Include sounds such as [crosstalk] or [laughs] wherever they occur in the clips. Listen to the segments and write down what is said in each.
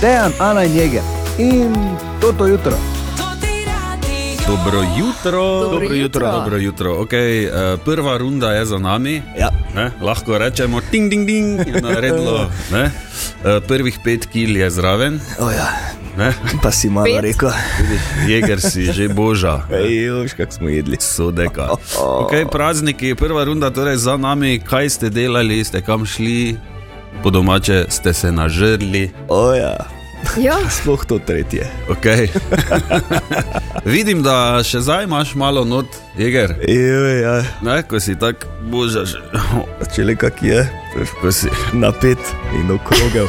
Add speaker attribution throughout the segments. Speaker 1: Dejan, Ana in Jeger in toto jutro.
Speaker 2: Dobro jutro.
Speaker 3: Dobro jutro.
Speaker 2: Dobro jutro. Okay, eh, prva runda je za nami.
Speaker 1: Ja.
Speaker 2: Ne? Lahko rečemo, ding, ding, ding, je
Speaker 1: [laughs]
Speaker 2: naredilo. Ne? Eh, Prvih pet kil je zraven,
Speaker 1: Oh ja,
Speaker 2: ne?
Speaker 1: pa si malo
Speaker 3: Pet?
Speaker 1: rekel.
Speaker 2: jeger si že boža. ne?
Speaker 1: Jož, kako smo jedli. Oh,
Speaker 2: Sodeka. Okay, prazniki, prva runda torej za nami, kaj ste delali, ste kam šli, po domače ste se nažrli.
Speaker 1: Oja,
Speaker 3: Ja,
Speaker 1: sploh to tretje.
Speaker 2: Okay. [laughs] Vidim, da še zdaj imaš malo not, jeger.
Speaker 1: Joj, ja,
Speaker 2: Ne, ko si tako božaš,
Speaker 1: če le kak je,
Speaker 2: [laughs] ko si.
Speaker 1: napet in okrogel.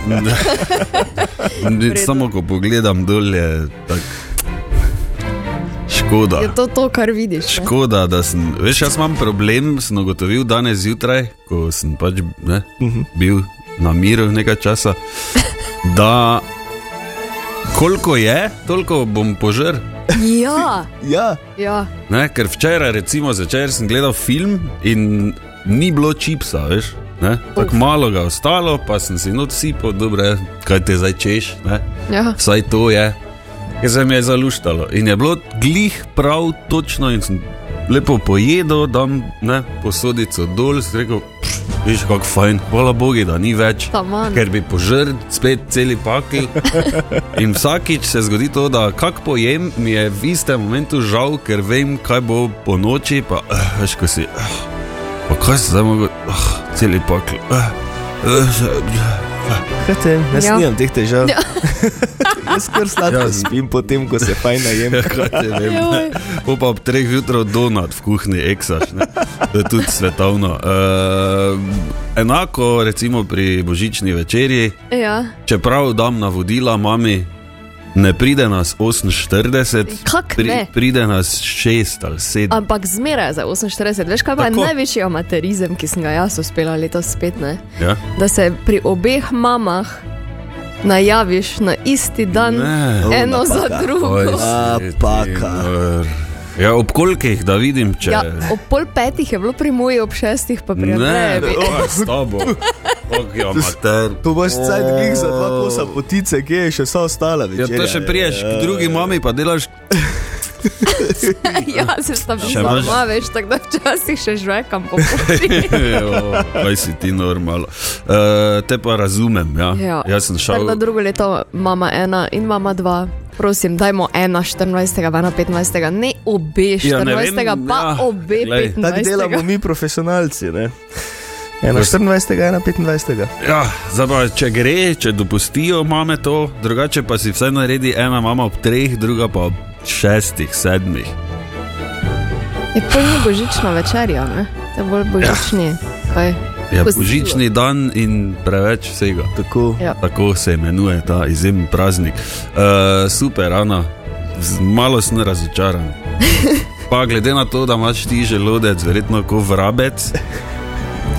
Speaker 2: [laughs]
Speaker 3: redu.
Speaker 2: Samo ko pogledam dol, je tako. Škoda.
Speaker 3: je to to, kar vidiš. ne?
Speaker 2: Škoda, da sem. Veš, jaz imam problem, sem ugotovil danes zjutraj, ko sem pač ne,
Speaker 3: Mhm.
Speaker 2: bil na miru nekaj časa, da koliko je, toliko bom požrl.
Speaker 3: Ja,
Speaker 1: Ja,
Speaker 3: ja.
Speaker 2: Ne, ker včeraj, recimo, zvečer sem gledal film in ni bilo čipsa, veš. ne. Tako malo ga je ostalo, pa sem si noč sipal, dobre, kaj te zdaj češ. Ne?
Speaker 3: ja.
Speaker 2: Vsaj to je, ker se mi je zaluštalo. In je bilo glih prav točno in sem lepo pojedel, da ne posodico dol, sem rekel, "Pš, veš kako fajn, hvala Bogu, da ni več.
Speaker 3: Taman.
Speaker 2: Ker bi požrl spet celi pakelj. In vsakič se zgodi to, da kako pojem, mi je v istem momentu žal, ker vem, kaj bo po noči. Pa eh, veš, ko si, eh, pa kaj se zdaj mogo, eh, celi pakelj. Eh, eh, že-
Speaker 1: kaj te, jaz ja.
Speaker 3: Ja.
Speaker 1: nimam teh težav. Ja. [laughs] jaz kar sladko ja. spim potem, ko se fajn najem.
Speaker 2: eh, Kaj te vem, ne. Pol pa ob treh jutra donat v kuhinji, eksaš, ne. to je tudi svetovno. E, enako recimo pri božični večerji,
Speaker 3: Ja.
Speaker 2: čeprav dam navodila mami, ne pride nas 48,
Speaker 3: Kak
Speaker 2: pri,
Speaker 3: ne?
Speaker 2: pride nas 6 ali 7.
Speaker 3: Ampak zmeraj za 48, veš kaj pa je
Speaker 2: Tako.
Speaker 3: največji amaterizem, ki sem ga jaz uspela letos spet, ne?
Speaker 2: Ja?
Speaker 3: da se pri obeh mamah najaviš na isti dan,
Speaker 2: Ne.
Speaker 3: eno za
Speaker 1: napaka.
Speaker 3: drugo.
Speaker 2: Oj,
Speaker 1: A, paka.
Speaker 2: Srebrn. Ja, ob kolikih, da vidim, če
Speaker 3: Ja, ob pol petih je bilo pri moji, ob šestih pa pri
Speaker 2: ne,
Speaker 3: [laughs] Andrejevi.
Speaker 2: to je s tabo. Ok, amater.
Speaker 1: To boš cajt glih za dva kosa potice, kje je še vsa ostala
Speaker 2: Ja,
Speaker 1: večerja.
Speaker 2: to še priješ k drugi mami, pa delaš
Speaker 3: ja, se sta bila
Speaker 2: Še imaš-
Speaker 3: sama, veš, tako da včasih še žvekam
Speaker 2: [laughs]
Speaker 3: po poti.
Speaker 2: Jo, Kaj si ti normalno? Uh, te pa razumem. Ja.
Speaker 3: Ja.
Speaker 2: Jaz sem šel.
Speaker 3: Tako da drugo leto mama ena in mama dva. Prosim, dajmo ena 14, pa ena 15, ne obe 14,
Speaker 2: Ja,
Speaker 3: ja,
Speaker 2: ne
Speaker 3: ne
Speaker 2: vem,
Speaker 3: pa
Speaker 2: ja,
Speaker 3: ja, obe
Speaker 2: glej.
Speaker 1: Tako
Speaker 3: 15.
Speaker 1: delamo mi profesionalci, ne? Ena
Speaker 2: Res-
Speaker 1: 24, ena 25.
Speaker 2: ja, zdaj pa, če gre, če dopustijo mame to, drugače pa si vse naredi ena mama ob treh, druga pa ob šestih, sedmih.
Speaker 3: Je polni božična večerja, ne? To je bolj božični. Ja.
Speaker 2: Ja, božični dan in preveč vsega.
Speaker 1: Tako.
Speaker 3: Ja.
Speaker 2: Tako se imenuje ta izjemen praznik. Uh, super, Ana, Z- malo sem
Speaker 3: [laughs]
Speaker 2: razočaran. Pa glede na to, da imaš ti želodec, verjetno kot vrabec.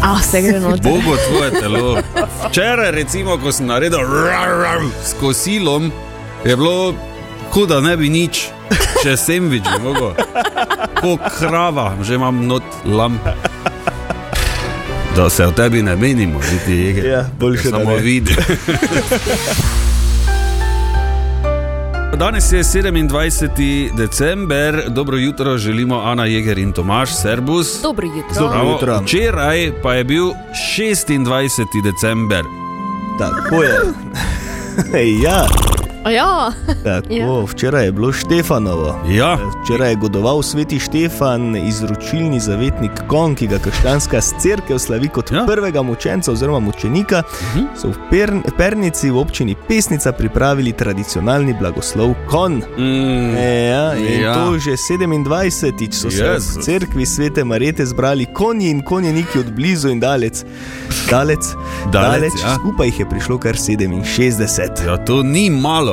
Speaker 3: Ah, se gre noter.
Speaker 2: Bogo tvoje telo. Včeraj, recimo, ko sem naredil rar, rar, s kosilom, je bilo huda, ne bi nič, če sem videl, mogo. Po krava, že imam not lam. Da se o tebi ne menimo, niti jega.
Speaker 1: Ja, boljše, da
Speaker 2: Samo
Speaker 1: ne.
Speaker 2: vidi. Danes je 27. december, dobro jutro želimo Ana Jeger in Tomaš, Serbus.
Speaker 3: Dobro jutro.
Speaker 1: Dobro.
Speaker 2: Bravo.
Speaker 1: jutro.
Speaker 2: Včeraj pa je bil 26. december.
Speaker 1: Tako je. Ej, ja,
Speaker 3: A Ja, [laughs]
Speaker 1: tako. Ja.
Speaker 3: Ja.
Speaker 1: Včeraj je bilo Štefanovo.
Speaker 2: Ja,
Speaker 1: Včeraj je godoval sveti Štefan, izročilni zavetnik Kon, ki ga krščanska crkva slavi kot
Speaker 2: Ja. Mhm.
Speaker 1: ja. prvega mučenca oziroma mučenika. Uh -huh. So v Pern, Pernici v občini Pesnica pripravili tradicionalni blagoslov Kon.
Speaker 2: mm,
Speaker 1: E, ja, in
Speaker 2: Ja.
Speaker 1: ja. to že 27-tič so se
Speaker 2: Jezus.
Speaker 1: v cerkvi svete Marete zbrali konji in konjeniki od blizu in dalec. Dalec,
Speaker 2: Dalec,
Speaker 1: dalec, dalec
Speaker 2: ja.
Speaker 1: ja. skupaj jih je prišlo kar 67.
Speaker 2: ja, to ni malo.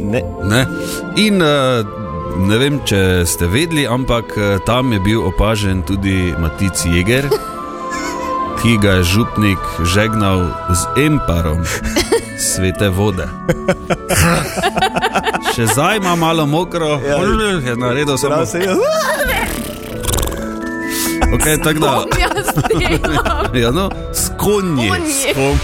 Speaker 1: Ne,
Speaker 2: Ne? In eh, ne vem, če ste vedeli, ampak eh, tam je bil opažen tudi Matic
Speaker 1: [laughs]
Speaker 2: Jeger, ki ga je župnik žegnal z
Speaker 1: [laughs]
Speaker 2: emparom svete vode. Še zdaj ima malo mokro, Hm,
Speaker 1: Ja.
Speaker 2: je naredil samo
Speaker 1: Zdrav se je.
Speaker 2: Okay, tako da.
Speaker 3: jaz
Speaker 2: [laughs]
Speaker 3: delam.
Speaker 2: Ja, no, s konji.
Speaker 3: Konji.
Speaker 2: S kon-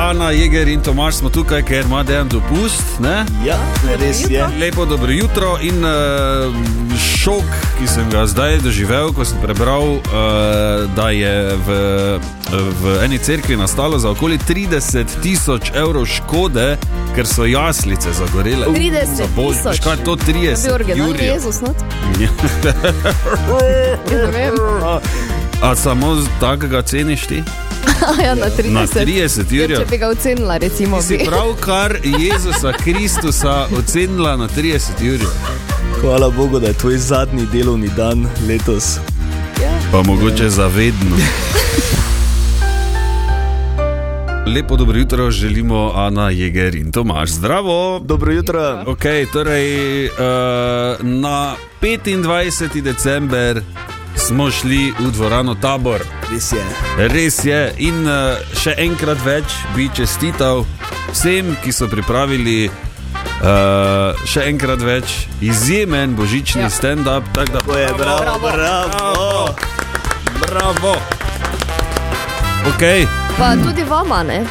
Speaker 2: Ana Jeger in Tomaš smo tukaj, ker ima dejan dopust. Ne?
Speaker 1: Ja, res je.
Speaker 2: Lepo dobro jutro in uh, šok, ki sem ga zdaj doživel, ko sem prebral, uh, da je v, v eni cerkvi nastalo za okoli 30 tisoč evrov škode, ker so jaslice zagorele.
Speaker 3: 30
Speaker 2: Za bolj-
Speaker 3: tisoč. no,
Speaker 2: Veš, Kaj je to
Speaker 3: Je bil
Speaker 2: 30?
Speaker 3: originalni
Speaker 2: jurjev?
Speaker 3: Jezus, not?
Speaker 2: Ja.
Speaker 3: Ne vem.
Speaker 2: [laughs]
Speaker 3: [laughs]
Speaker 2: A samo z- tako ga ceniš ti?
Speaker 3: Ja, na 30.
Speaker 2: Na 30
Speaker 3: Ker
Speaker 2: jurjev.
Speaker 3: Ja, Če bi ga ocenila, recimo,
Speaker 2: Ti si
Speaker 3: bi.
Speaker 2: pravkar Jezusa Kristusa ocenila na 30 ur.
Speaker 1: Hvala Bogu, da je tvoj zadnji delovni dan letos.
Speaker 2: Pa mogoče zavedno. Lepo dobro jutro želimo Ana Jeger in Tomaš. Zdravo!
Speaker 1: Dobro jutro.
Speaker 2: Ok, torej uh, na 25. december smo šli v dvorano Tabor.
Speaker 1: Res je.
Speaker 2: Res je, in eh, še enkrat več bi čestital vsem, ki so pripravili uh, še enkrat več izjemen božični
Speaker 3: Ja.
Speaker 2: ja. stand-up. tako da-
Speaker 1: To je bravo, bravo.
Speaker 2: Bravo! Ok,
Speaker 3: Pa tudi vama, ne?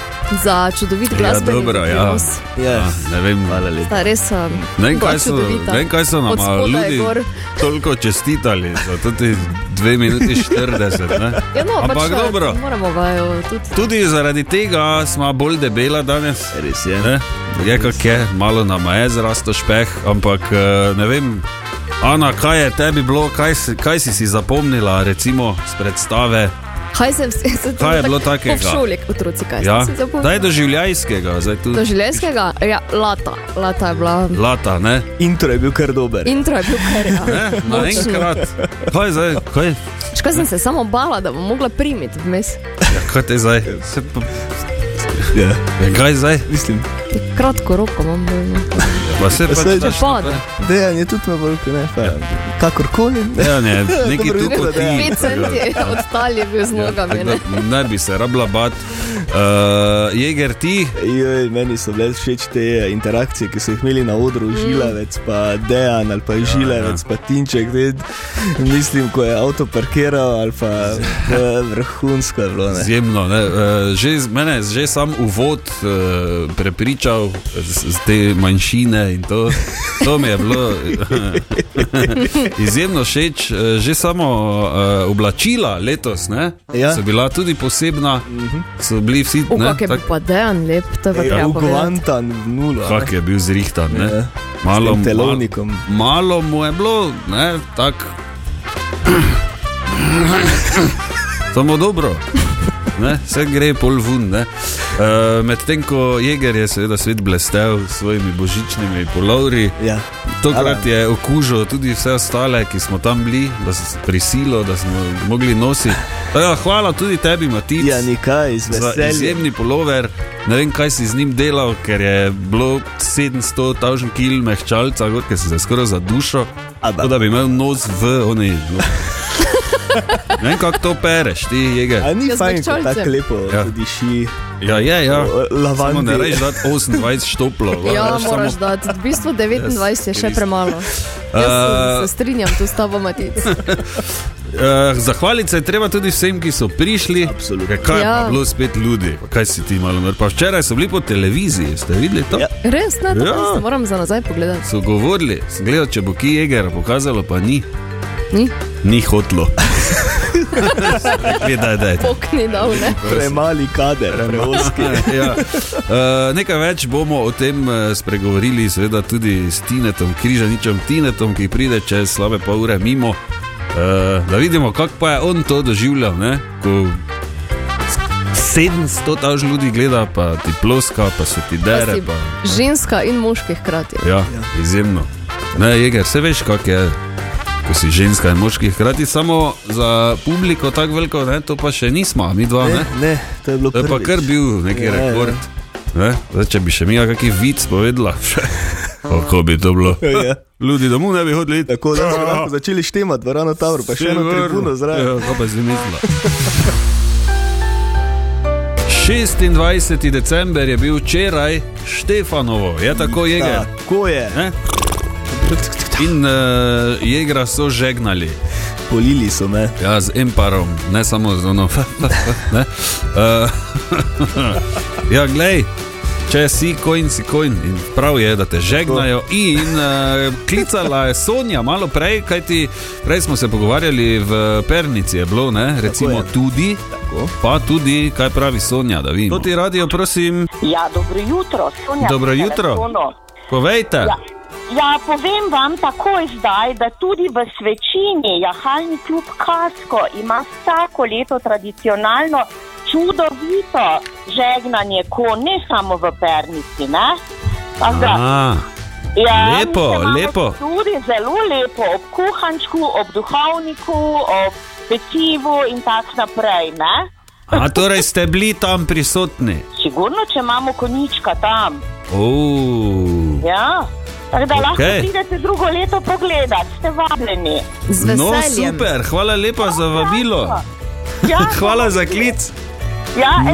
Speaker 3: Za čudovit glas.
Speaker 2: dobro, ja.
Speaker 1: Ja.
Speaker 2: ah, ne vem,
Speaker 1: Hvala lepa.
Speaker 3: Ta res. um,
Speaker 2: ne vem,
Speaker 3: bila
Speaker 2: kaj so,
Speaker 3: čudovita.
Speaker 2: ne vem, kaj so nam
Speaker 3: Od
Speaker 2: a,
Speaker 3: spodaj
Speaker 2: ljudje
Speaker 3: gor.
Speaker 2: toliko čestitali za tudi 2 minuti 40. Ne?
Speaker 3: Ja, no,
Speaker 2: Ampak
Speaker 3: pač, eh,
Speaker 2: dobro.
Speaker 3: Moramo vaju tudi.
Speaker 2: Tudi zaradi tega smo bolj debela danes.
Speaker 1: Res je.
Speaker 2: Ne? Je kak je, malo nam je zrastel špeh, ampak eh, ne vem, Ana, kaj je tebi bilo, kaj si, kaj si, si zapomnila, recimo z predstave.
Speaker 3: Kaj sem se zdaj
Speaker 2: Kaj je bilo takega?
Speaker 3: V šoli, otroci, kaj
Speaker 2: Ja?
Speaker 3: sem se
Speaker 2: Daj
Speaker 3: zapomnil?
Speaker 2: doživljajskega, zdaj tu.
Speaker 3: Do življenjskega? Ja, lata. Lata je bila.
Speaker 2: Lata, ne?
Speaker 1: Intro je bil kar dober.
Speaker 3: Intro je bil kar. Ja.
Speaker 2: ne?
Speaker 3: Močno.
Speaker 2: Naenkrat. Kaj zdaj, kaj,
Speaker 3: Škoda sem se samo bala, da bom mogla primiti vmes.
Speaker 2: ja, kaj te zdaj? Se pa-
Speaker 1: Ja.
Speaker 2: ja, Kaj zdaj?
Speaker 1: Mislim,
Speaker 3: Kratko roko imam. bolj, no.
Speaker 2: Pa se pač
Speaker 1: Saj-
Speaker 2: daš
Speaker 3: Zapada.
Speaker 2: naprej.
Speaker 1: dejan je tudi na vrhu, ne? Pa, kakorkoli. Ne?
Speaker 2: Ja, ne, neki
Speaker 1: Dobro
Speaker 2: tu
Speaker 1: jutro,
Speaker 2: kot ti.
Speaker 1: Dejan.
Speaker 3: 5 centi od tal je bil z
Speaker 2: Ja,
Speaker 3: nogami.
Speaker 2: tako
Speaker 3: ne.
Speaker 2: da ne bi se rabila bat. Uh, Jeger ti,
Speaker 1: Joj, meni so bile všeč te eh, interakcije, ki so jih imeli na odru, žilevec, pa dejan ali pa žilevec, pa tinček. Ne? Mislim, ko je avto parkiral ali pa [laughs] eh, vrhunsko je bilo. Ne?
Speaker 2: Izjemno. Ne? Eh, Že, z- mene je že sam uvod eh, prepričal z, z te manjšine in to, to mi je bilo e, [laughs] izjemno všeč. Eh, Že samo eh, oblačila letos ne,
Speaker 1: Ja. Mhm.
Speaker 2: so bila tudi posebna, so bili vsi
Speaker 3: O,
Speaker 2: ne,
Speaker 3: kak je bil
Speaker 2: tako-
Speaker 3: pa dejan lep, to je pa
Speaker 1: Ja,
Speaker 3: treba povedati.
Speaker 1: Ugantan v nulo. ne.
Speaker 2: Kak je bil zrihtan, ne?
Speaker 1: Ja.
Speaker 2: malo
Speaker 1: tem telovnikom.
Speaker 2: Malo, malo mu je bilo, ne, tako. Samo dobro. Ne, vse gre pol vun. E, Medtem ko Jeger je seveda svet blestev s svojimi božičnimi polovri,
Speaker 1: Ja.
Speaker 2: tokrat
Speaker 1: Alarm.
Speaker 2: je okužil tudi vse ostale, ki smo tam bili, da so prisilo, da smo mogli nositi. Tako da Hvala tudi tebi, Matic
Speaker 1: ja, nikaj, z
Speaker 2: za
Speaker 1: veseljem.
Speaker 2: izjemni polover. Ne vem, kaj si z njim delal, ker je bilo 700 tavžen kil mehčalca, gor, ker si se skoraj zadušil.
Speaker 1: Aba.
Speaker 2: Tako da bi imel nos v oni.
Speaker 1: [laughs]
Speaker 2: No. Ne vem, kako to pereš, ti jege.
Speaker 1: A ni
Speaker 3: Ja, z
Speaker 1: fajn, ko
Speaker 3: mehčalcem.
Speaker 1: tako lepo
Speaker 2: Ja.
Speaker 1: ja. diši.
Speaker 2: Ja, je, ja. Samo ne
Speaker 1: Lavandi.
Speaker 2: rečeš, da 28
Speaker 3: [laughs]
Speaker 2: štoplo.
Speaker 3: Ja, moraš dati. V bistvu 29 je še premalo.
Speaker 2: Eh.
Speaker 3: Jaz se strinjam tu s tabo,
Speaker 2: [laughs]
Speaker 3: Matic.
Speaker 2: Uh, zahvaliti se je treba tudi vsem, ki so prišli.
Speaker 1: Absolutno.
Speaker 2: Ker Kaj je
Speaker 3: Ja.
Speaker 2: ja. bilo spet ljudi? Pa Kaj si ti malo naredil? Pa Včeraj so bili po televiziji, ste videli to?
Speaker 1: Ja.
Speaker 3: Res, ne,
Speaker 2: Ja.
Speaker 3: to ja. moram za nazaj pogledati.
Speaker 2: So govorili, sem gledal, če bo ki jeger, pokazalo pa ni.
Speaker 3: Ni?
Speaker 2: Ni hotlo. Rekli, daj, daj.
Speaker 3: Pokni dol, ne.
Speaker 1: [laughs] Premali kader, preoski.
Speaker 2: [laughs] Ja. Uh, nekaj več bomo o tem eh, spregovorili, seveda tudi s Tinetom, križaničem Tinetom, ki pride čez slabe pol ure mimo. Uh, da vidimo, kako pa je on to doživljal. Ne? Ko 700 taž ljudi gleda, pa ti ploska, pa se ti
Speaker 3: Da
Speaker 2: dere.
Speaker 3: si
Speaker 2: Pa,
Speaker 3: Ženska in moški hkrati.
Speaker 2: ja, izjemno. Ne, jeger, se veš, kako je. Ko si ženska in moški, hkrati samo za publiko tako veliko, ne, to pa še nismo, mi dva. Ne?
Speaker 1: Ne, ne, to je bilo
Speaker 2: To je pa
Speaker 1: prvič.
Speaker 2: kar bil neki
Speaker 1: Ja,
Speaker 2: ja,
Speaker 1: ja.
Speaker 2: rekord. Ne? Zdaj, če bi še mi kakšen vic povedala, [laughs] kako bi to bilo.
Speaker 1: Ja.
Speaker 2: Ljudi, da mu ne bi hodili.
Speaker 1: Tako da smo
Speaker 2: [laughs]
Speaker 1: lahko začeli štemati, dvorano Tavor, Ja, pa še eno tribuno zraven.
Speaker 2: Ja, kaj pa zdaj [laughs] mislila. 26. december je bil včeraj Štefanovo, je tako jeger.
Speaker 1: Tako je.
Speaker 2: Ne? In uh, jegra so žegnali.
Speaker 1: polili so me.
Speaker 2: Ja, z emparom, ne samo z ono. [laughs] ne? Eh, [laughs] ja, glej. Če si kojn, si kojn in prav je, da te žegnajo. In uh, klicala je Sonja malo prej, kajti prej smo se pogovarjali v Pernici, je bilo, ne? recimo je.
Speaker 1: je.
Speaker 2: tudi,
Speaker 1: Tako.
Speaker 2: pa tudi, kaj pravi Sonja, da vidimo. To ti radio, prosim,
Speaker 4: Ja, dobro jutro, Sonja.
Speaker 2: Dobro
Speaker 4: pri
Speaker 2: jutro.
Speaker 4: telefonu.
Speaker 2: povejte.
Speaker 4: Ja. ja, povem vam takoj zdaj, da tudi v Svečini jahalni klub Kasko ima vsako leto tradicionalno čudovito žegnanje, ko ne samo v Pernici. Ne? Tako da,
Speaker 2: A,
Speaker 4: Ja,
Speaker 2: Lepo,
Speaker 4: mi se imamo
Speaker 2: lepo.
Speaker 4: Tudi zelo lepo, ob kuhančku, ob duhovniku, ob pecivu in tako naprej. Ne?
Speaker 2: a torej ste bili tam prisotni.
Speaker 4: Sigurno, če imamo konjička tam.
Speaker 2: Oh.
Speaker 4: Ja. Tako da okay. lahko
Speaker 2: Okej.
Speaker 4: pridete drugo leto pogledat, ste vabljeni.
Speaker 3: Z
Speaker 2: No,
Speaker 3: veseljem.
Speaker 2: super, hvala lepa za vabilo.
Speaker 4: Ja,
Speaker 2: Hvala za klic.
Speaker 4: Ja,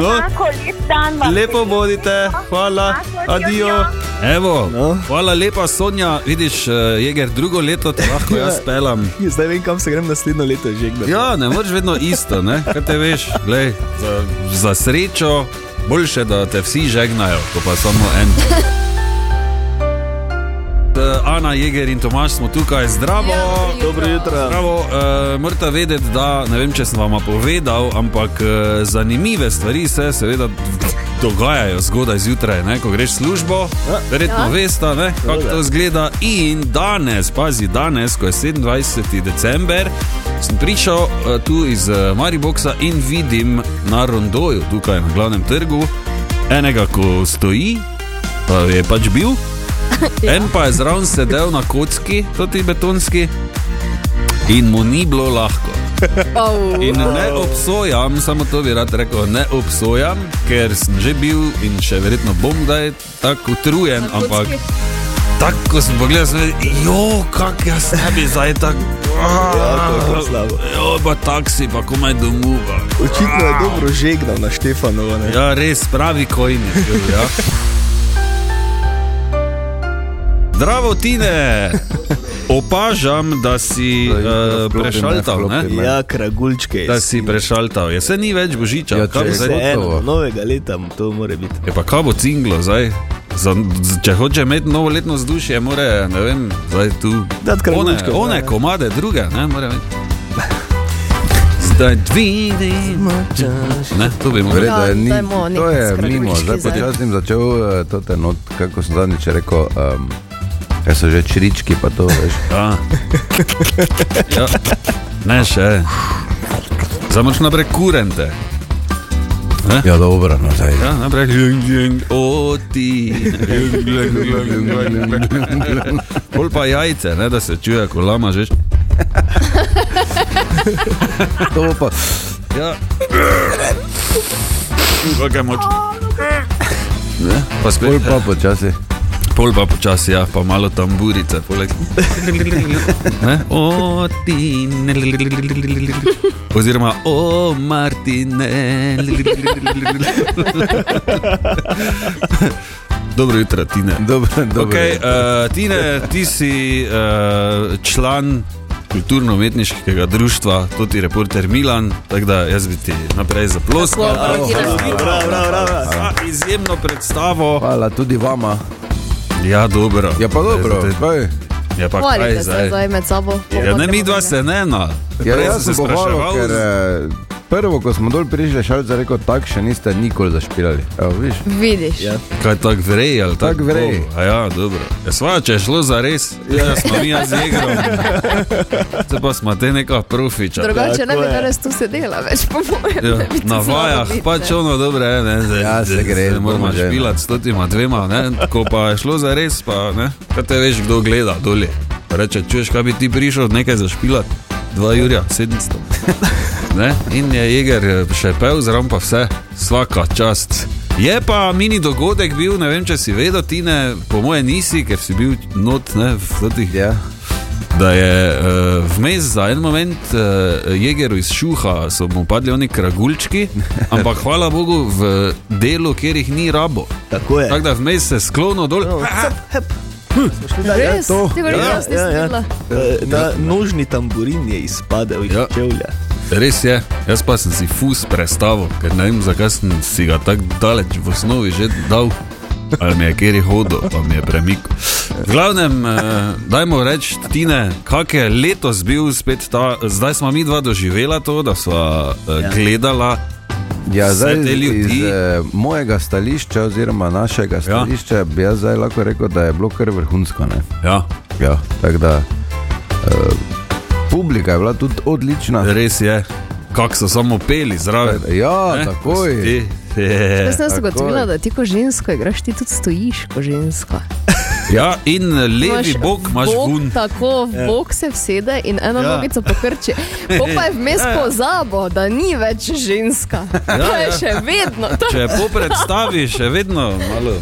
Speaker 2: No.
Speaker 4: no. enako lep dan vam.
Speaker 2: Lepo bodite, hvala, adijo. Evo,
Speaker 1: No.
Speaker 2: Hvala lepa, Sonja. Vidiš, eh, Jeger, drugo leto te lahko jaz pelam.
Speaker 1: Jaz Ja, Zdaj vem, kam se grem naslednjo leto že kdo.
Speaker 2: Ja, ne moreš vedno isto, ne? kaj te veš. Glej, za, za srečo boljše, da te vsi žegnajo, kot pa samo en. Eh, Ana, Jeger in Tomaš smo tukaj, zdravo.
Speaker 1: Ja,
Speaker 3: Ja,
Speaker 1: Dobro jutro.
Speaker 2: Pravo, uh, morate vedeti, da ne vem, če sem vam povedal, ampak uh, zanimive stvari se seveda dogajajo zgodaj zjutraj, ne? ko greš v službo. Verjetno ja.
Speaker 3: Ja.
Speaker 2: veste, ne, kako
Speaker 1: Seveda.
Speaker 2: to zgleda. In danes, pazi, danes, ko je 27. december, sem prišel uh, tu iz uh, Mariboksa in vidim na Rondoju, tukaj na glavnem trgu, enega, ko stoji, pa je pač bil. En pa je zraven sedel na kocki, tudi betonski, in mu ni bilo lahko.
Speaker 3: Oh.
Speaker 2: In ne obsojam, samo to bi rad rekel, ne obsojam, ker sem že bil in še verjetno bom, da je tako utrujen, ampak tako ko sem pogledal, sem rekel, jo, kak jaz ne bi zdaj tako.
Speaker 1: Ja, to je kar slabo.
Speaker 2: Jo, pa taksi, pa komaj domov. pa.
Speaker 1: Očitno je dobro žegnal na Štefanovo. ne.
Speaker 2: Ja, res pravi kojni. Ja. Zdravo, Tine! Opažam, da si
Speaker 5: Da, da
Speaker 2: uh,
Speaker 5: vklopim,
Speaker 2: prešaltal,
Speaker 5: ne,
Speaker 2: ne?
Speaker 5: vklopim.
Speaker 1: Ja, kragulčke.
Speaker 2: Da si prešaltal. Je se ni več božiča,
Speaker 5: Ja,
Speaker 2: kaj bo
Speaker 5: če je
Speaker 2: zdaj?
Speaker 5: kot-
Speaker 1: Eno,
Speaker 5: Gotovo.
Speaker 1: novega leta to mora biti.
Speaker 2: Je pa kaj bo cinglo zdaj? Za, z- če hoče imeti novoletno vzdušje, mora, ne vem, zdaj tu.
Speaker 1: Dati
Speaker 2: one,
Speaker 1: kragulčke,
Speaker 2: one
Speaker 1: ne.
Speaker 2: komade, druge, ne, mora imeti. Zdaj vidim. Ne, to bi moral.
Speaker 5: Verjetno
Speaker 3: Ja,
Speaker 5: je ni,
Speaker 3: dajmo
Speaker 5: to
Speaker 3: nekaj
Speaker 5: je
Speaker 3: skratko
Speaker 5: mimo,
Speaker 3: črki
Speaker 5: zdaj
Speaker 3: zdaj.
Speaker 5: počasi sem začel eh, to tenot, kako sem zadnjič rekel, um, kaj so že črički, pa to veš.
Speaker 2: Ja. Ja. Ne še. Zdaj moraš naprej kurente.
Speaker 5: Ja, dobro, no zdaj.
Speaker 2: Ja, naprej. Ljung, ljung, Oti. Ljung, ljung, ljung, ljung, ljung. Pol pa jajce, ne, da se čuje, ko lama že.
Speaker 5: To bo pa,
Speaker 2: Ja. Kako je moč. Ne, Pa
Speaker 5: bolj
Speaker 2: spet,
Speaker 5: pa počasi.
Speaker 2: pol pa počasi, ja, pa malo tamburice. Poleg...
Speaker 5: [laughs]
Speaker 2: Ne? O, ti, ne, Oziroma, o,
Speaker 5: [laughs]
Speaker 2: Martine. Dobro jutro, Tine.
Speaker 5: Dobro, dobro.
Speaker 2: Okay, uh, Tine, ti si uh, član kulturno-umetniškega društva, tudi reporter Milan, tako da jaz bi ti naprej zaploskal.
Speaker 3: Tako, Martina.
Speaker 1: Bravo, bravo, bravo.
Speaker 2: Za izjemno predstavo.
Speaker 5: Hvala tudi vama.
Speaker 2: Ja, dobro.
Speaker 5: Ja, pa dobro.
Speaker 2: Zdaj,
Speaker 5: Kaj?
Speaker 2: Ja, pa kaj
Speaker 3: Hvalite se
Speaker 2: zdaj?
Speaker 3: zdaj med sabo.
Speaker 2: Ja, ne, mi dva se ne, no.
Speaker 5: Ja,
Speaker 2: Prej
Speaker 5: jaz sem pohvalil, ker eh, prvo, ko smo dol prišli, šalce rekel, tak še niste nikoli zašpirali. Evo, viš.
Speaker 3: Vidiš.
Speaker 1: Ja.
Speaker 2: Kaj tako vrej, ali tako?
Speaker 5: Tako vrej.
Speaker 2: bolj? A Ja, dobro. Ja, sva, če je šlo za res, ja, smo mi jaz
Speaker 5: [laughs]
Speaker 2: igrali. Zdaj pa smo te neka profiča.
Speaker 3: Drugače ne
Speaker 1: Tako
Speaker 3: bi
Speaker 1: je.
Speaker 3: danes tu sedela, več po mojem. [laughs]
Speaker 2: Ja,
Speaker 3: ne bi tu
Speaker 2: na
Speaker 3: znala
Speaker 2: vajah,
Speaker 3: biti, Ja,
Speaker 2: pač
Speaker 3: ne.
Speaker 2: ono dobro je, ne, zdaj,
Speaker 5: Ja, se
Speaker 2: zdaj
Speaker 5: gre,
Speaker 2: se moramo
Speaker 5: dobro, že, ne.
Speaker 2: špilati s totima dvema, ne, ko pa je šlo za res, pa ne, kaj te veš, kdo gleda dolje. Pa Reče, čuješ, kaj bi ti prišel, nekaj zašpilati, 2 jurja, 700. [laughs] Ne? In je Jeger eh, še pel, zraven pa vse, vsaka čast. Je pa mini dogodek bil, ne vem, če si vedel, ti ne, po moje nisi, ker si bil not, ne, v teh
Speaker 5: Ja.
Speaker 2: da je uh, vmes za en moment uh, jegeru iz šuha so mu padli oni kragulčki, ampak hvala Bogu v delu, kjer jih ni rabo.
Speaker 1: Tako je.
Speaker 2: Tako da vmes se sklono dol.
Speaker 3: Res?
Speaker 5: to.
Speaker 3: Tega
Speaker 2: Ja,
Speaker 3: res nisem videla.
Speaker 1: Eh, Ta nožni tamburin je izpadel iz
Speaker 2: Ja.
Speaker 1: čevlja.
Speaker 2: Res je, jaz pa sem si fus predstavil, ker ne vem, zakaj sem si ga tako daleč v osnovi že dal. Ali mi je kjer hodil, pa mi je premik. V glavnem, eh, dajmo reči, Tine, kak je letos bil spet ta, zdaj smo mi dva doživela to, da sva eh, gledala.
Speaker 5: Ja,
Speaker 2: Vse
Speaker 5: zdaj,
Speaker 2: te ljudi.
Speaker 5: iz eh, mojega stališča, oziroma našega stališča, ja. bi jaz zdaj lahko rekel, da je bilo kar vrhunsko. Ne?
Speaker 2: Ja,
Speaker 5: Ja, tako da. Uh, publika je bila tudi odlična.
Speaker 2: res je, kako so samo peli zraven.
Speaker 5: Ja,
Speaker 2: ne, ko so
Speaker 5: takoj.
Speaker 2: ti- Je.
Speaker 3: Jaz sem
Speaker 5: tako
Speaker 3: zagotovila,
Speaker 5: je.
Speaker 3: da ti ko žensko igraš, ti tudi stojiš ko žensko.
Speaker 2: Ja, in levi bok imaš
Speaker 3: bok
Speaker 2: vun.
Speaker 3: Tako,
Speaker 5: Ja.
Speaker 3: v bok se vsede in ena
Speaker 2: Ja.
Speaker 3: ja. nogica pokrči. Po pa je
Speaker 5: [laughs]
Speaker 3: vmes
Speaker 5: Ja.
Speaker 3: pozabo, da ni več ženska. Ja, to je
Speaker 2: ja.
Speaker 3: ja. še vedno. To
Speaker 2: Če po predstavi, še vedno malo.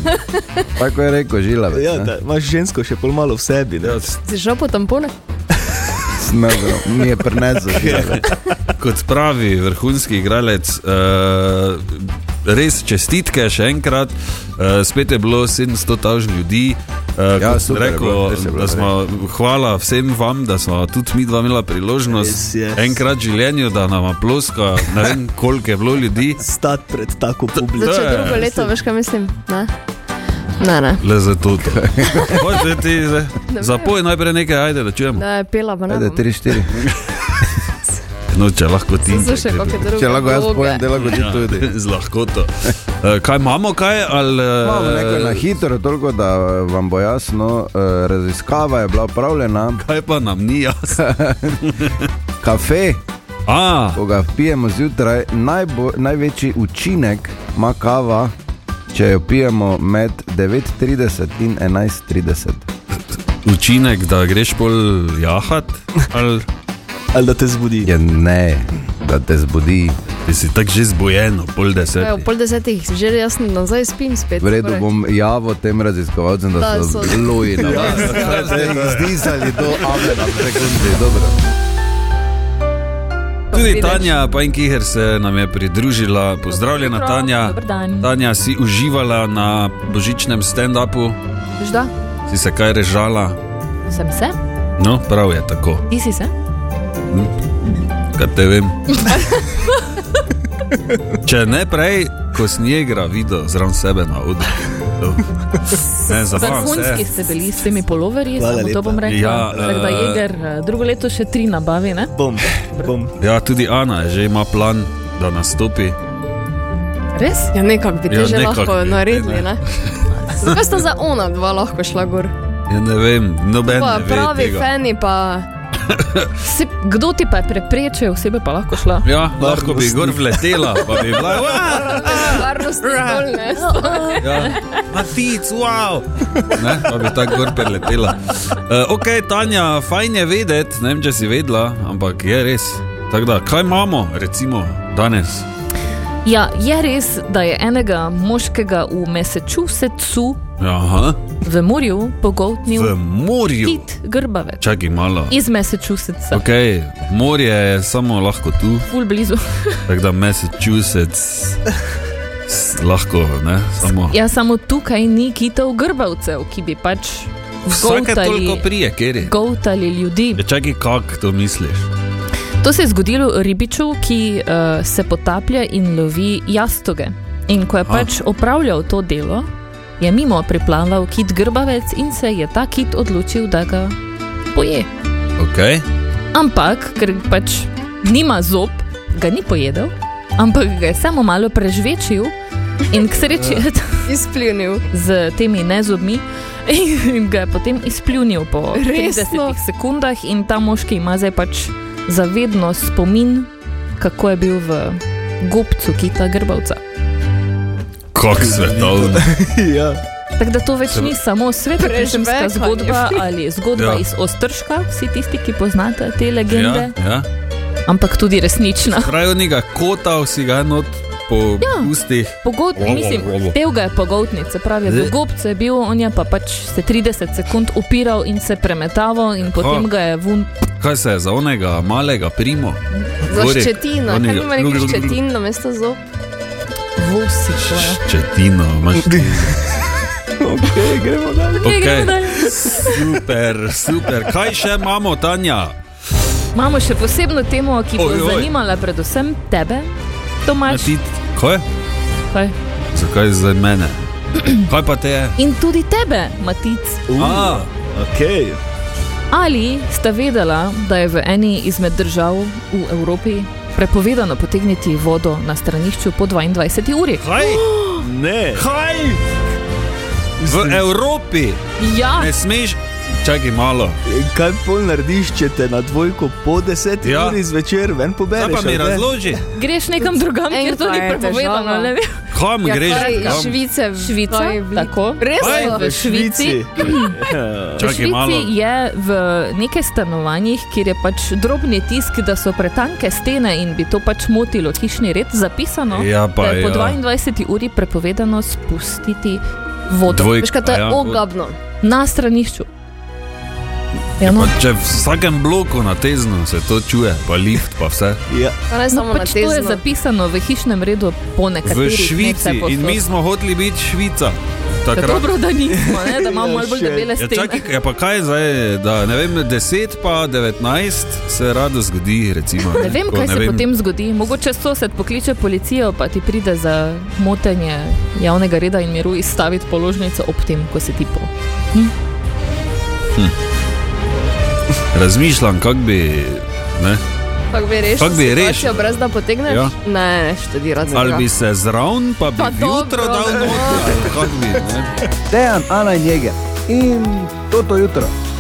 Speaker 5: Tako je rekel Žila.
Speaker 1: Ja, da, imaš žensko še pol malo v sebi. Ne?
Speaker 2: Ja,
Speaker 3: si šel po tampone?
Speaker 5: mi je prenesel.
Speaker 2: [laughs]
Speaker 5: Žilavec.
Speaker 2: Kot pravi vrhunski igralec, uh, res čestitke še enkrat. Uh, spet je bilo 700 taž ljudi. Uh, ja,
Speaker 5: Ja, super je
Speaker 2: rekel,
Speaker 5: bilo, res je bilo,
Speaker 2: da smo, hvala vsem vam, da smo tudi mi dva imela
Speaker 1: Res
Speaker 2: priložnost
Speaker 1: je.
Speaker 2: enkrat v življenju, da nam ploska. Ne vem, koliko je bilo ljudi.
Speaker 1: Stati pred tako
Speaker 3: Da
Speaker 1: publiko.
Speaker 2: To
Speaker 3: če
Speaker 5: ja,
Speaker 2: je-
Speaker 3: drugo leto, veš kaj mislim? Ne, ne. ne.
Speaker 2: Le za to. [laughs] Pojdi ti, zdaj. zapoj najprej nekaj, ajde, da čujemo.
Speaker 3: Da je pela, pa ne.
Speaker 5: Ajde,
Speaker 3: bom.
Speaker 5: tri, štiri.
Speaker 2: No, če lahko ti.
Speaker 3: So še kakšne druge
Speaker 5: [laughs] Če lahko jaz
Speaker 3: vloge.
Speaker 5: pojem, da lahko
Speaker 2: Ja.
Speaker 5: ti
Speaker 2: [laughs]
Speaker 5: tudi.
Speaker 2: Z lahkoto. Eh, Kaj imamo, kaj? Ali, eh,
Speaker 5: Imamo nekaj na hitro, toliko da vam bo jasno. eh, Raziskava je bila upravljena,
Speaker 2: Kaj pa nam ni jasno? [laughs]
Speaker 5: kafe,
Speaker 2: A,
Speaker 5: ko ga pijemo zjutraj, najbo, največji učinek ima kava, če jo pijemo med 9:30 in 11:30.
Speaker 2: učinek, da greš pol jahat, ali Eh.
Speaker 1: Ali da te zbudi.
Speaker 5: Ja, ne, da te zbudi.
Speaker 2: ti si tako že zbojen, ob pol deset.
Speaker 3: Ja, ob pol desetih, že jaz nazaj spim spet.
Speaker 5: V redu
Speaker 3: skoraj.
Speaker 5: bom javo tem raziskovalcem, da,
Speaker 3: Torej. Da,
Speaker 5: so
Speaker 3: so-
Speaker 5: zelo na vas. Zdizali do amena, prekundi, dobro.
Speaker 2: Tudi
Speaker 3: vidiš.
Speaker 2: Tanja Pajnkiher se nam je pridružila, pozdravljena
Speaker 6: Dobro,
Speaker 2: Tanja.
Speaker 6: dober dan.
Speaker 2: Tanja, si uživala na božičnem stand-upu,
Speaker 6: Veš da?
Speaker 2: si se kaj režala.
Speaker 6: Sem se?
Speaker 2: No, prav je tako,
Speaker 6: Ti si se?
Speaker 2: kar te vem. Če ne prej, ko snjegra videl zraven sebe na odru. Ne, zabavam se.
Speaker 6: Vrhunski ste bili s temi poloverji,
Speaker 1: Hvala
Speaker 6: samo
Speaker 1: lepa.
Speaker 6: to bom rekla.
Speaker 2: Ja,
Speaker 6: Tako da
Speaker 2: eh,
Speaker 6: jeger, eh, drugo leto še tri nabavi, ne?
Speaker 1: Bom, bom. [laughs]
Speaker 2: Ja, tudi Ana je že ima plan, da nastopi.
Speaker 6: Res?
Speaker 3: Ja, nekako bi ti
Speaker 2: Ja,
Speaker 3: že
Speaker 2: nekako
Speaker 3: lahko
Speaker 2: bi,
Speaker 3: naredili.
Speaker 2: ne.
Speaker 3: Ne? Zakaj sta za ona dva lahko šla gor?
Speaker 2: Ja, ne vem, noben
Speaker 3: Pa,
Speaker 2: ne ve
Speaker 3: pravi
Speaker 2: tega.
Speaker 3: fani
Speaker 2: [laughs]
Speaker 3: pa.
Speaker 6: Se, kdo ti pa je preprečil, osebe pa lahko šla?
Speaker 2: Ja, lahko bi gor vletela, pa bi bila. "Ua, [laughs]
Speaker 3: Varnost dol, ne.
Speaker 2: Ja, matic, wow! Ne, pa bi tako gor preletela. Uh, ok, Tanja, fajn je vedeti, ne vem, če si vedela, ampak je res. Tako da, kaj imamo, recimo, danes?
Speaker 6: Ja, je res, da je enega moškega v Massachusettsu
Speaker 2: Aha,
Speaker 6: v morju
Speaker 2: v
Speaker 6: pogoltnil
Speaker 2: morju.
Speaker 6: Pit Grbavec
Speaker 2: Čakaj malo.
Speaker 6: iz Massachusettsa.
Speaker 2: Ok, morje je samo lahko tu.
Speaker 6: Ful blizu. [laughs]
Speaker 2: Tako da Massachusetts s- lahko, ne, samo.
Speaker 6: Ja, samo tukaj ni kitov grbavcev, ki bi pač
Speaker 2: Vsake toliko
Speaker 6: goltali,
Speaker 2: prije, kjer je.
Speaker 6: goltali ljudi.
Speaker 2: Ja, Čakaj, kako to misliš?
Speaker 6: To se je zgodilo ribiču, ki uh, se potaplja in lovi jastoge. In ko je
Speaker 2: Aha.
Speaker 6: pač opravljal to delo, je mimo priplaval kit grbavec in se je ta kit odločil, da ga poje.
Speaker 2: Okay.
Speaker 6: Ampak, ker pač nima zob, ga ni pojedel, ampak ga je samo malo prežvečil in k sreči je
Speaker 3: Izpljunil.
Speaker 6: z temi nezobmi. [laughs] In ga je potem izpljunil po
Speaker 3: Resno?
Speaker 6: 30 sekundah, in ta moški ima zdaj pač zavedno spomin, kako je bil v gobcu kita grbavca.
Speaker 2: Kako svetovno.
Speaker 1: ja.
Speaker 6: Tako da to več ni samo
Speaker 3: Prežvekanje.
Speaker 6: svetovna zgodba ali zgodba
Speaker 2: Ja.
Speaker 6: ja. iz Ostrška, vsi tisti, ki poznate te
Speaker 2: Ja,
Speaker 6: legende,
Speaker 2: ja.
Speaker 6: ja. ampak tudi resnična.
Speaker 2: Pravijo njega kota, si ga not po ja. ustih.
Speaker 6: Pogod, mislim, del ga je pogotnik, se pravi,
Speaker 2: Zdaj-
Speaker 6: v gobcu je bil, on je pa pač se 30 sekund upiral in se premetaval, in potem ga je vun
Speaker 2: Kaj se je za onega malega primo? Gorek,
Speaker 3: Zaščetina, kaj
Speaker 2: onega-
Speaker 3: nima rekel ščetin na mesto zob?
Speaker 6: ja. Vosi, to je.
Speaker 2: Ščetino, imaš ti.
Speaker 1: Okay, gremo dalje.
Speaker 2: Okay.
Speaker 6: gremo dalje.
Speaker 2: Super, super. Kaj še imamo, Tanja?
Speaker 6: Imamo še posebno temo, ki bo
Speaker 2: Oj, oj.
Speaker 6: zanimala predvsem tebe,
Speaker 2: A
Speaker 6: Tomaš.
Speaker 2: Ti, kaj?
Speaker 6: Kaj?
Speaker 2: Zakaj za mene? Kaj pa te je?
Speaker 6: In tudi tebe, Matic.
Speaker 1: Uh,
Speaker 2: A,
Speaker 1: Okay.
Speaker 6: Ali sta vedela, da je v eni izmed držav v Evropi prepovedano potegniti vodo na stranišču po 22 uri?
Speaker 2: kaj?
Speaker 1: Ne,
Speaker 2: Kaj? V Evropi
Speaker 6: Ja,
Speaker 2: ne smeš, čakaj malo.
Speaker 1: kaj pol narediš, če te na dvojko po 10
Speaker 2: Ja.
Speaker 1: ja. uri zvečer ven
Speaker 2: Zdaj
Speaker 1: pobereš?
Speaker 2: pa mi
Speaker 1: ali ne?
Speaker 2: razloži,
Speaker 6: greš nekam drugam, kjer
Speaker 3: Enkrat
Speaker 6: to ni
Speaker 3: je
Speaker 6: prepovedano.
Speaker 3: težava.
Speaker 6: ne vem.
Speaker 2: kam
Speaker 3: Ja,
Speaker 2: greš?
Speaker 3: kaj, iz
Speaker 2: Kam?
Speaker 3: Švice, v-
Speaker 6: Švica,
Speaker 3: kaj je bilo?
Speaker 6: tako.
Speaker 2: Kaj?
Speaker 6: V Švici,
Speaker 1: Ja.
Speaker 6: v
Speaker 2: Čakaj malo.
Speaker 6: Švici je v nekaj stanovanjih, kjer je pač drobni tisk, da so pretanke stene in bi to pač motilo hišni red, zapisano,
Speaker 2: Ja, pa
Speaker 6: No, da je po
Speaker 2: ja.
Speaker 6: 22 uri prepovedano spustiti vodo
Speaker 2: Dvojka.
Speaker 3: Veš, kaj to je
Speaker 2: ja,
Speaker 3: ogabno.
Speaker 6: na stranišču.
Speaker 2: Ja,
Speaker 6: Ja, no.
Speaker 2: pa če v vsakem bloku na teznu se to čuje, pa lift, pa vse.
Speaker 1: [clears throat] Ja.
Speaker 3: To ne
Speaker 6: No,
Speaker 3: samo na
Speaker 6: pač to je
Speaker 3: tezno.
Speaker 6: zapisano v hišnem redu
Speaker 2: V
Speaker 6: po nekaterih
Speaker 2: Švici in mi smo hoteli biti Švica.
Speaker 6: tako
Speaker 2: Takrat.
Speaker 6: Ja, dobro, da nismo, ne,
Speaker 2: [laughs]
Speaker 6: da imamo
Speaker 1: Ja,
Speaker 6: malo bolj
Speaker 1: še.
Speaker 6: debele
Speaker 2: Ja,
Speaker 6: stene.
Speaker 2: čakaj, ja, pa kaj je zdaj, da ne vem, 10 pa 19 se rado zgodi. Recimo,
Speaker 6: Ne vem,
Speaker 2: Ko
Speaker 6: kaj se potem zgodi. Mogoče sosed pokliče policijo, pa ti pride za motenje javnega reda in miru izstaviti položnico ob tem, ko si ti po.
Speaker 2: Razmišljam, kako bi. Ne,
Speaker 3: Kako bi rešil?
Speaker 2: Kako bi
Speaker 3: situacijo
Speaker 2: rešil?
Speaker 3: Brez da potegneš?
Speaker 2: Ja.
Speaker 3: Ne, ne, študirati. za
Speaker 2: ali
Speaker 3: tega.
Speaker 2: bi se zraven, pa bi
Speaker 3: Pa
Speaker 2: jutro
Speaker 3: dobro,
Speaker 2: dal
Speaker 3: ne.
Speaker 2: noter. ali kako bi, ne.
Speaker 5: Dejan, Ana in Jeger. In to to jutro.